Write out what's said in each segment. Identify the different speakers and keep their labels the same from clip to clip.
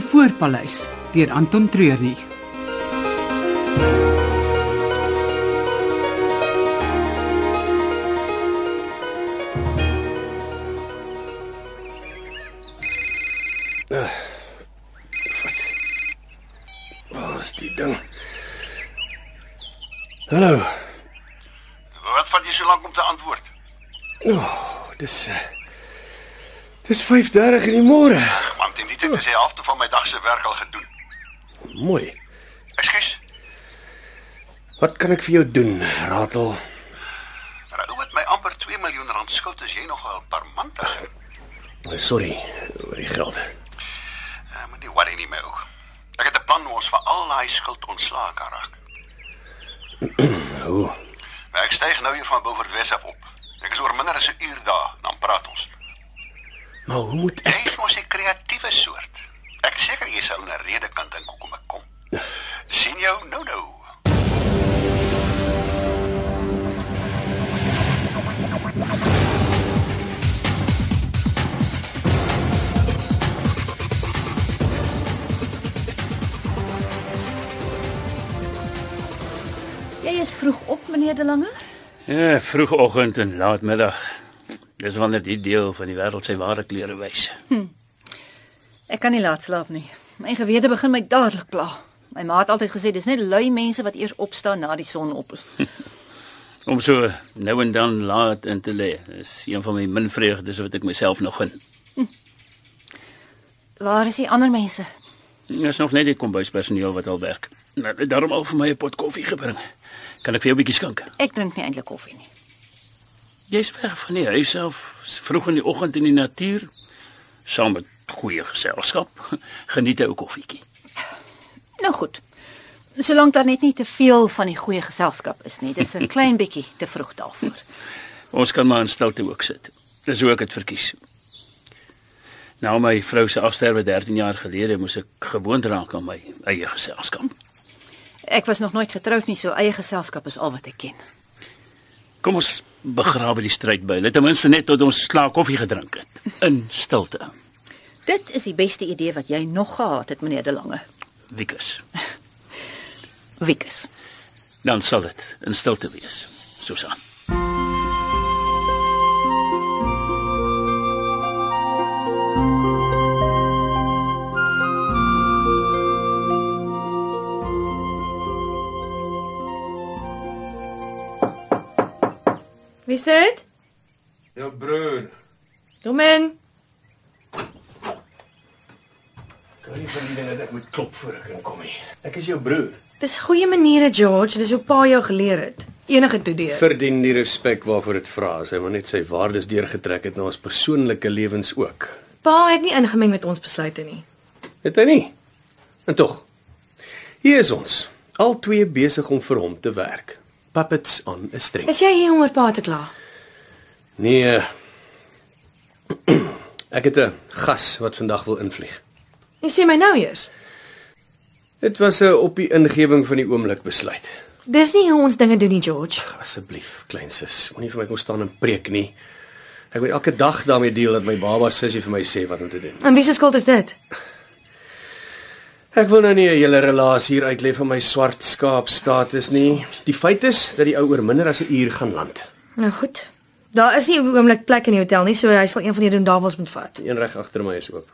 Speaker 1: Spoorpaleis deur Anton Treurnig.
Speaker 2: Waar is die ding? Hallo.
Speaker 3: Wat vat jy so lank om te antwoord?
Speaker 2: Oh, dis eh, Dis 5:30 in die môre.
Speaker 3: Ag man, teen die tyd is die helfte van my dag se werk al gedoen.
Speaker 2: Mooi.
Speaker 3: Ekskuus.
Speaker 2: Wat kan ek vir jou doen, Ratel?
Speaker 3: Maar 'n ou wat my amper 2 miljoen rand skuld is jy nogal parmantig.
Speaker 2: Oh, Sorry oor die geld.
Speaker 3: Uh, Moenie worry nie my ou. Ek het 'n plan hoe ons van al daai skuld ontslae kan raak.
Speaker 2: Hoe?
Speaker 3: Maar ek styg nou hier van Beaufort Wes af op. Ek is oor minder as 'n uur daar, dan praat ons.
Speaker 2: Maar hoe moet ek?
Speaker 3: Jy is mos 'n kreatiewe soort. Ek is seker jy sou 'n rede kan dink hoekom ek kom. sien jou nou nou.
Speaker 4: Jy is vroeg op, meneer De Lange?
Speaker 5: Ja, vroegoggend en laatmiddag. Dis wanneer die deel van die wêreld sy ware kleure wys.
Speaker 4: Ek kan nie laat slaap nie. My gewete begin my dadelik pla. My ma het altyd gesê dis net lui mense wat eers opstaan na die son op is.
Speaker 5: Om so nou en dan laat in te lê is een van my min vreugdes wat ek myself nog gun.
Speaker 4: Waar is die ander mense?
Speaker 5: Daar's nog net die kombuispersoneel wat al werk. Nou, Daarom al vir my 'n pot koffie gebring. Kan ek vir jou 'n bietjie skink?
Speaker 4: Ek drink nie eintlik koffie nie.
Speaker 5: Jy's weg van die huis af, s- vroeg in die oggend in die natuur, saam met goeie geselskap. Geniet 'n ou koffietjie.
Speaker 4: Nou goed. Solank daar net nie te veel van die goeie geselskap is nie. Dis 'n klein bietjie te vroeg daarvoor.
Speaker 5: Ons kan maar in stilte ook sit. Dis hoe ek dit verkies. Nou my vrou se afsterwe 13 jaar gelede moes ek gewoond raak aan my eie geselskap.
Speaker 4: Ek was nog nooit getroud nie, so eie geselskap is al wat ek ken.
Speaker 5: Kom ons begrawe die stryd by. Let ten minste net tot ons slaa koffie gedrink het in stilte.
Speaker 4: Dit is die beste idee wat jy nog gehad het, meneer De Lange.
Speaker 5: Wikus.
Speaker 4: Wikus.
Speaker 5: Dan sal dit in stilte wees. Susan.
Speaker 6: Wie is dit?
Speaker 2: Jou broer.
Speaker 6: Kom in.
Speaker 2: Kan nie van die dinge dat ek moet klop voor ek inkom nie. Ek is jou broer.
Speaker 6: Dis goeie maniere, George. Dis hoe pa jou geleer het. Enige toedeur.
Speaker 2: Verdien die respek waarvoor dit vra. As hy maar net sy waardes deurgetrek het na ons persoonlike lewens ook.
Speaker 6: Pa het nie ingemeng met ons besluite nie.
Speaker 2: Het hy nie? En tog. Hier is ons, al twee besig om vir hom te werk. Puppets on 'n string.
Speaker 6: Is jy hier om oor pa te kla?
Speaker 2: Nee. Ek het 'n gas wat vandag wil invlieg.
Speaker 6: Jy sê my nou eers.
Speaker 2: Dit was 'n op die ingewing van die oomblik besluit.
Speaker 6: Dis nie hoe ons dinge doen nie, George.
Speaker 2: Asseblief, kleinsis, moenie vir my kom staan en preek nie. Ek moet elke dag daarmee deel dat my baba sussie vir my sê wat om te doen.
Speaker 6: En wie se skuld is dit?
Speaker 2: Ek wil nou nie 'n hele relasie hier uitlê van my swart skaap status nie. Die feit is dat die ou oor minder as 'n uur gaan land.
Speaker 6: Nou goed. Daar is nie op die oomblik plek in die hotel nie, so hy sal een van hierdie dawels moet vat.
Speaker 2: Een reg agter my is oop.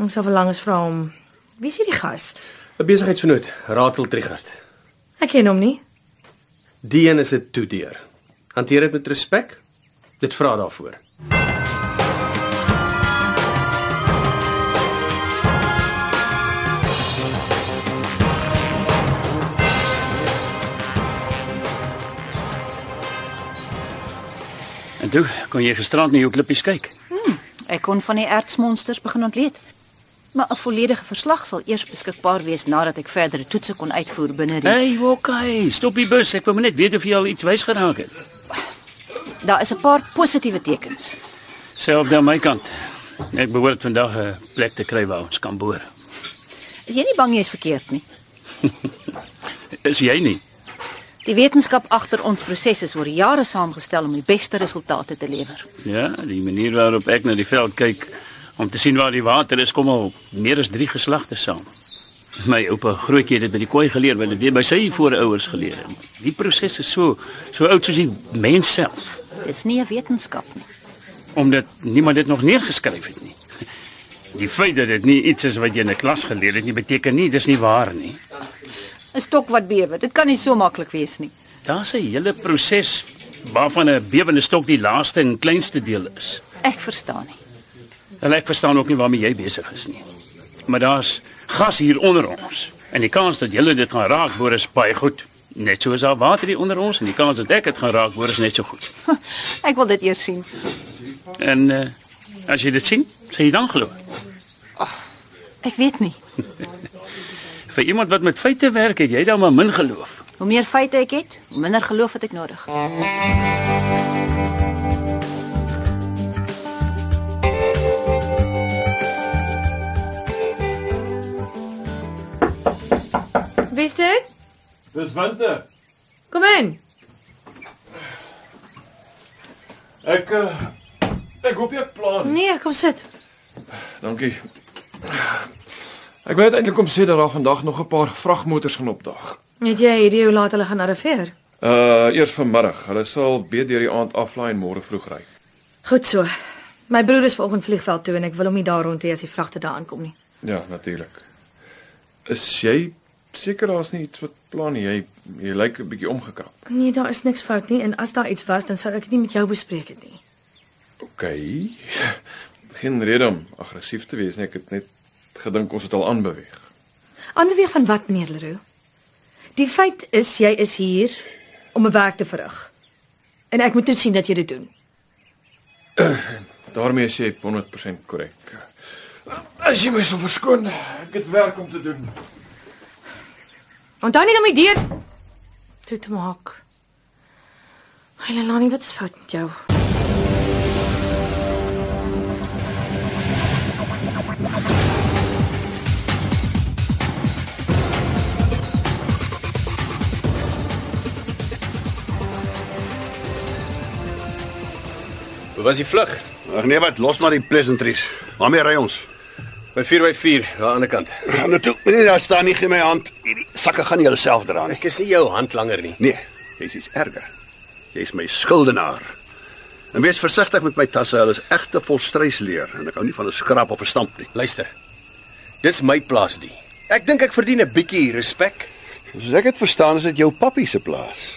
Speaker 6: Ons sal verlangs vra hom. Wie is hierdie gas?
Speaker 2: 'n Besigheidsvernoot, Ratel Trigard.
Speaker 6: Ek ken hom nie.
Speaker 2: Die een is 'n toedeur. Hanteer dit met respek. Dit vra daarvoor.
Speaker 5: En toe kon jy gisterand na jou klippies kyk.
Speaker 4: Ek kon van die ertsmonsters begin ontleed. Maar 'n volledige verslag sal eers beskikbaar wees nadat ek verdere toetse kon uitvoer binne die
Speaker 5: Hey, Wokai, stop die bus. Ek wil maar net weet of jy al iets wys geraak het.
Speaker 4: Daar is 'n paar positiewe tekens.
Speaker 5: Selfs aan my kant. Ek behoort vandag 'n plek te kry waar ons kan boer.
Speaker 4: Is jy nie bang jy is verkeerd nie?
Speaker 5: Is jy nie?
Speaker 4: Die wetenskap agter ons proses is oor jare saamgestel om die beste resultate te lewer.
Speaker 5: Ja, die manier waarop ek na die veld kyk Om te sien waar die water is kom al meer as 3 geslagte saam. My oupa grootjie het dit by die koei geleer, want dit weer by sy voorouers geleer. Die proses is so so oud soos die mens self,
Speaker 4: Dis nie 'n wetenskap nie.
Speaker 5: omdat niemand dit nog neergeskryf het nie. Die feit dat dit nie iets is wat jy in 'n klas geleer het nie, beteken nie dis nie waar nie.
Speaker 4: 'n Stok wat bewe. Dit kan nie so maklik wees nie.
Speaker 5: Daar's 'n hele proses waarvan 'n bewende stok die laaste en kleinste deel is.
Speaker 4: Ek verstaan nie.
Speaker 5: En ek verstaan ook nie waarmee jy besig is nie. Maar daar's gas hier onder ons. En die kans dat julle dit gaan raak, hoor is baie goed. Net soos daar water hier onder ons en die kans dat ek dit gaan raak, hoor is net so goed.
Speaker 4: Ek wil dit eers sien.
Speaker 5: En uh, as jy dit sien, sê jy dan glo.
Speaker 4: Ek weet nie.
Speaker 5: Vir iemand wat met feite werk, het jy dan maar min geloof.
Speaker 4: Hoe meer feite ek het, hoe minder geloof het ek nodig. Nou
Speaker 6: Wie's dit?
Speaker 2: Dis winter.
Speaker 6: Kom in.
Speaker 2: Ek uh, ek hoop jy plan.
Speaker 6: Nee, kom sit.
Speaker 7: Dankie. Ek wou eintlik kom sê dat daar vandag nog 'n paar vragmotors gaan opdaag.
Speaker 6: Net jy hierdie hoe laat hulle gaan arriveer?
Speaker 7: Uh eers vanmiddag. Hulle sal beet deur die aand aflaai en môre vroeg ry.
Speaker 6: Goed so. My broer is vanoggend vliegveld toe en ek wil hom nie daar rond hê as die vragte daar aankom nie.
Speaker 7: Ja, natuurlik. Is jy seker daar's nie iets wat plan nie? Jy jy lyk 'n bietjie omgekrap.
Speaker 6: Nee, daar is niks fout nie en as daar iets was, dan sou ek dit nie met jou bespreek het nie.
Speaker 7: OK. Geen rede om aggressief te wees nie. Ek het net gedink ons het al aanbeweeg.
Speaker 6: Aanbeweeg van wat, meneer Leroux? Die feit is jy is hier om 'n werk te verrig. En ek moet toe sien dat jy dit doen.
Speaker 7: Daarmee is jy 100% korrek. As jy my sou verskoon, ek het werk om te doen.
Speaker 6: Onthou net om die deur toe te maak. Hulle Lani, wat is fout met jou?
Speaker 2: Hoe was die vlug?
Speaker 3: Ag nee, wat, los maar die pleasantries. Waarmee ry ons?
Speaker 2: By 4x4 aan die ander kant.
Speaker 3: Gaan nou toe. Nee, daar staan nie geen my hand. Hierdie sakke gaan jy jouself dra nie.
Speaker 2: Ek is nie jou hand langer nie.
Speaker 3: Nee, jy's iets erger. Jy's my skuldenaar. En wees versigtig met my tasse, hulle is egte volstrysleer en ek hou nie van 'n skrap of 'n stamp nie.
Speaker 2: Luister. Dis my plaas die. Ek dink ek verdien 'n bietjie respek.
Speaker 3: Soos ek dit verstaan, is dit jou pappie se plaas.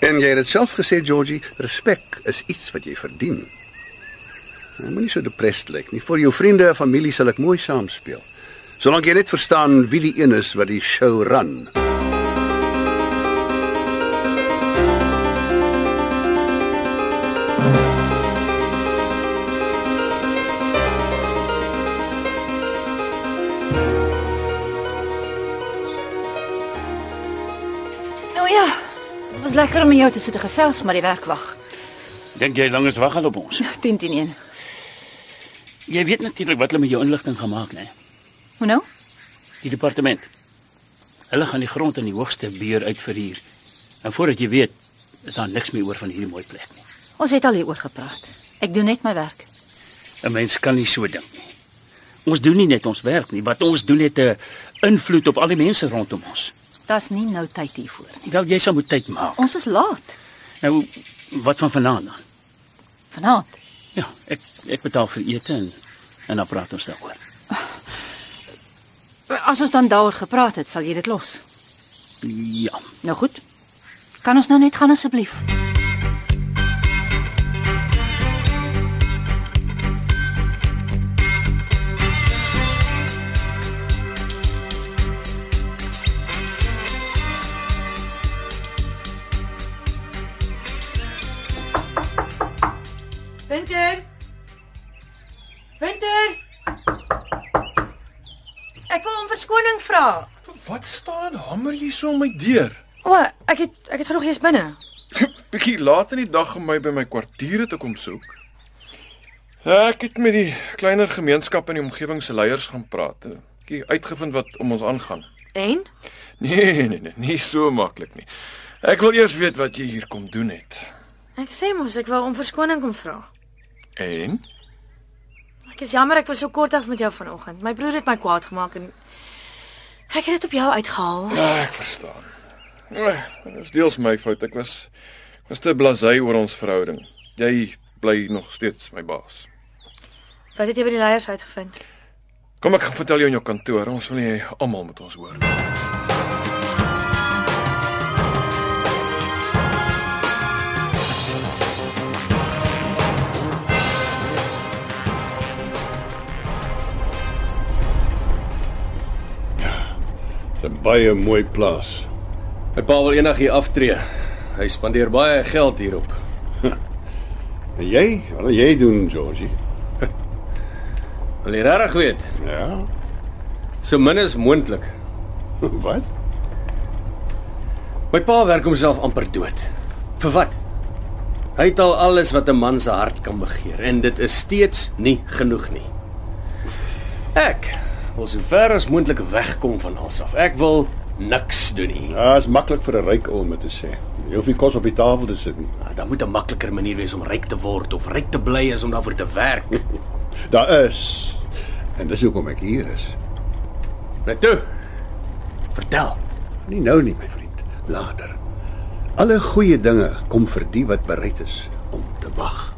Speaker 3: En jy het dit self gesê, Georgie, respek is iets wat jy verdien. Nou, Moenie so depressed lyk nie. Vir jou vriende en familie sal ek mooi saam speel. Solank jy net verstaan wie die een is wat die show run.
Speaker 4: Nou ja, dit was lekker om met jou te sit en gesels, maar die werk wag.
Speaker 5: Dink jy lank is wag al op ons?
Speaker 4: 10 teen 1.
Speaker 5: Jy weet natuurlik wat hulle met jou inligting gemaak het, né?
Speaker 4: Hoe nou?
Speaker 5: Die departement. Hulle gaan die grond in die hoogste buur uitverhuur. En voordat jy weet, is daar niks meer oor van hierdie mooi plek nie.
Speaker 4: Ons het al hieroor gepraat. Ek doen net my werk.
Speaker 5: 'n Mens kan nie so dink nie. Ons doen nie net ons werk nie, wat ons doen het 'n invloed op al die mense rondom ons.
Speaker 4: Daar's nie nou tyd hiervoor nie.
Speaker 5: Wel jy sal moet tyd maak.
Speaker 4: Ons is laat
Speaker 5: Nou wat van vanaand dan?
Speaker 4: vanaand.
Speaker 5: Ja, ek ek betaal vir ete en en dan praat ons daaroor.
Speaker 4: As ons dan daaroor gepraat het, sal jy dit los.
Speaker 5: Ja.
Speaker 4: Nou goed. Kan ons nou net gaan asseblief?
Speaker 6: Winter. Winter. Ek wil om verskoning vra.
Speaker 7: Wat staan hamer jy so om my deur?
Speaker 6: O, ek het ek het genoeg eens binne.
Speaker 7: Bietjie laat in die dag om my by my kwartiere te kom soek. Ek het met die kleiner gemeenskap in die omgewing se leiers gaan praat. Ek het uitgevind wat om ons aangaan.
Speaker 6: En
Speaker 7: Nee, nee, nee, nie so maklik nie. Ek wil eers weet wat jy hier kom doen het.
Speaker 6: ek sê mos ek wou om verskoning kom vra.
Speaker 7: En
Speaker 6: Ek Ek is jammer ek was so kort af met jou vanoggend. My broer het my kwaad gemaak en ek het dit op jou uitgehaal.
Speaker 7: Ja, ek verstaan. Ag, Dit is deels my fout. Ek was ek was te blasé oor ons verhouding. Jy bly nog steeds my baas.
Speaker 6: Wat het jy by die leiers uitgevind?
Speaker 7: Kom ek gaan vertel jou in jou kantoor. Ons wil nie hê almal moet ons hoor.
Speaker 8: Dis 'n baie mooi plaas.
Speaker 2: My pa wil eendag hier aftree. Hy spandeer baie geld hierop.
Speaker 8: En jy? Wat jy doen, Georgie?
Speaker 2: Wil jy regtig weet?
Speaker 8: Ja.
Speaker 2: So min as moontlik.
Speaker 8: Wat?
Speaker 2: My pa werk homself amper dood. Vir wat? Hy het al alles wat 'n man se hart kan begeer en dit is steeds nie genoeg nie. Ek wil so ver as moontlik wegkom van alsaf. Ek wil niks doen nie.
Speaker 8: Ja, is maklik vir 'n ryk ou om dit te sê. Jy hoef nie kos op die tafel te sit nie.
Speaker 2: Nou, Daar moet 'n makliker manier wees om ryk te word of ryk te bly as om daarvoor te werk.
Speaker 8: Daar is. En dis hoekom ek hier is.
Speaker 2: Nou toe. Vertel.
Speaker 8: Nie nou nie, my vriend, later. Alle goeie dinge kom vir die wat bereid is om te wag.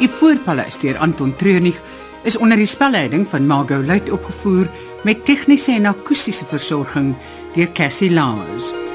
Speaker 1: Die Voorpaleis deur Anton Treurnig is onder die spelleiding van Margot Luit opgevoer met tegniese en akoestiese versorging deur Cassie Lawrence.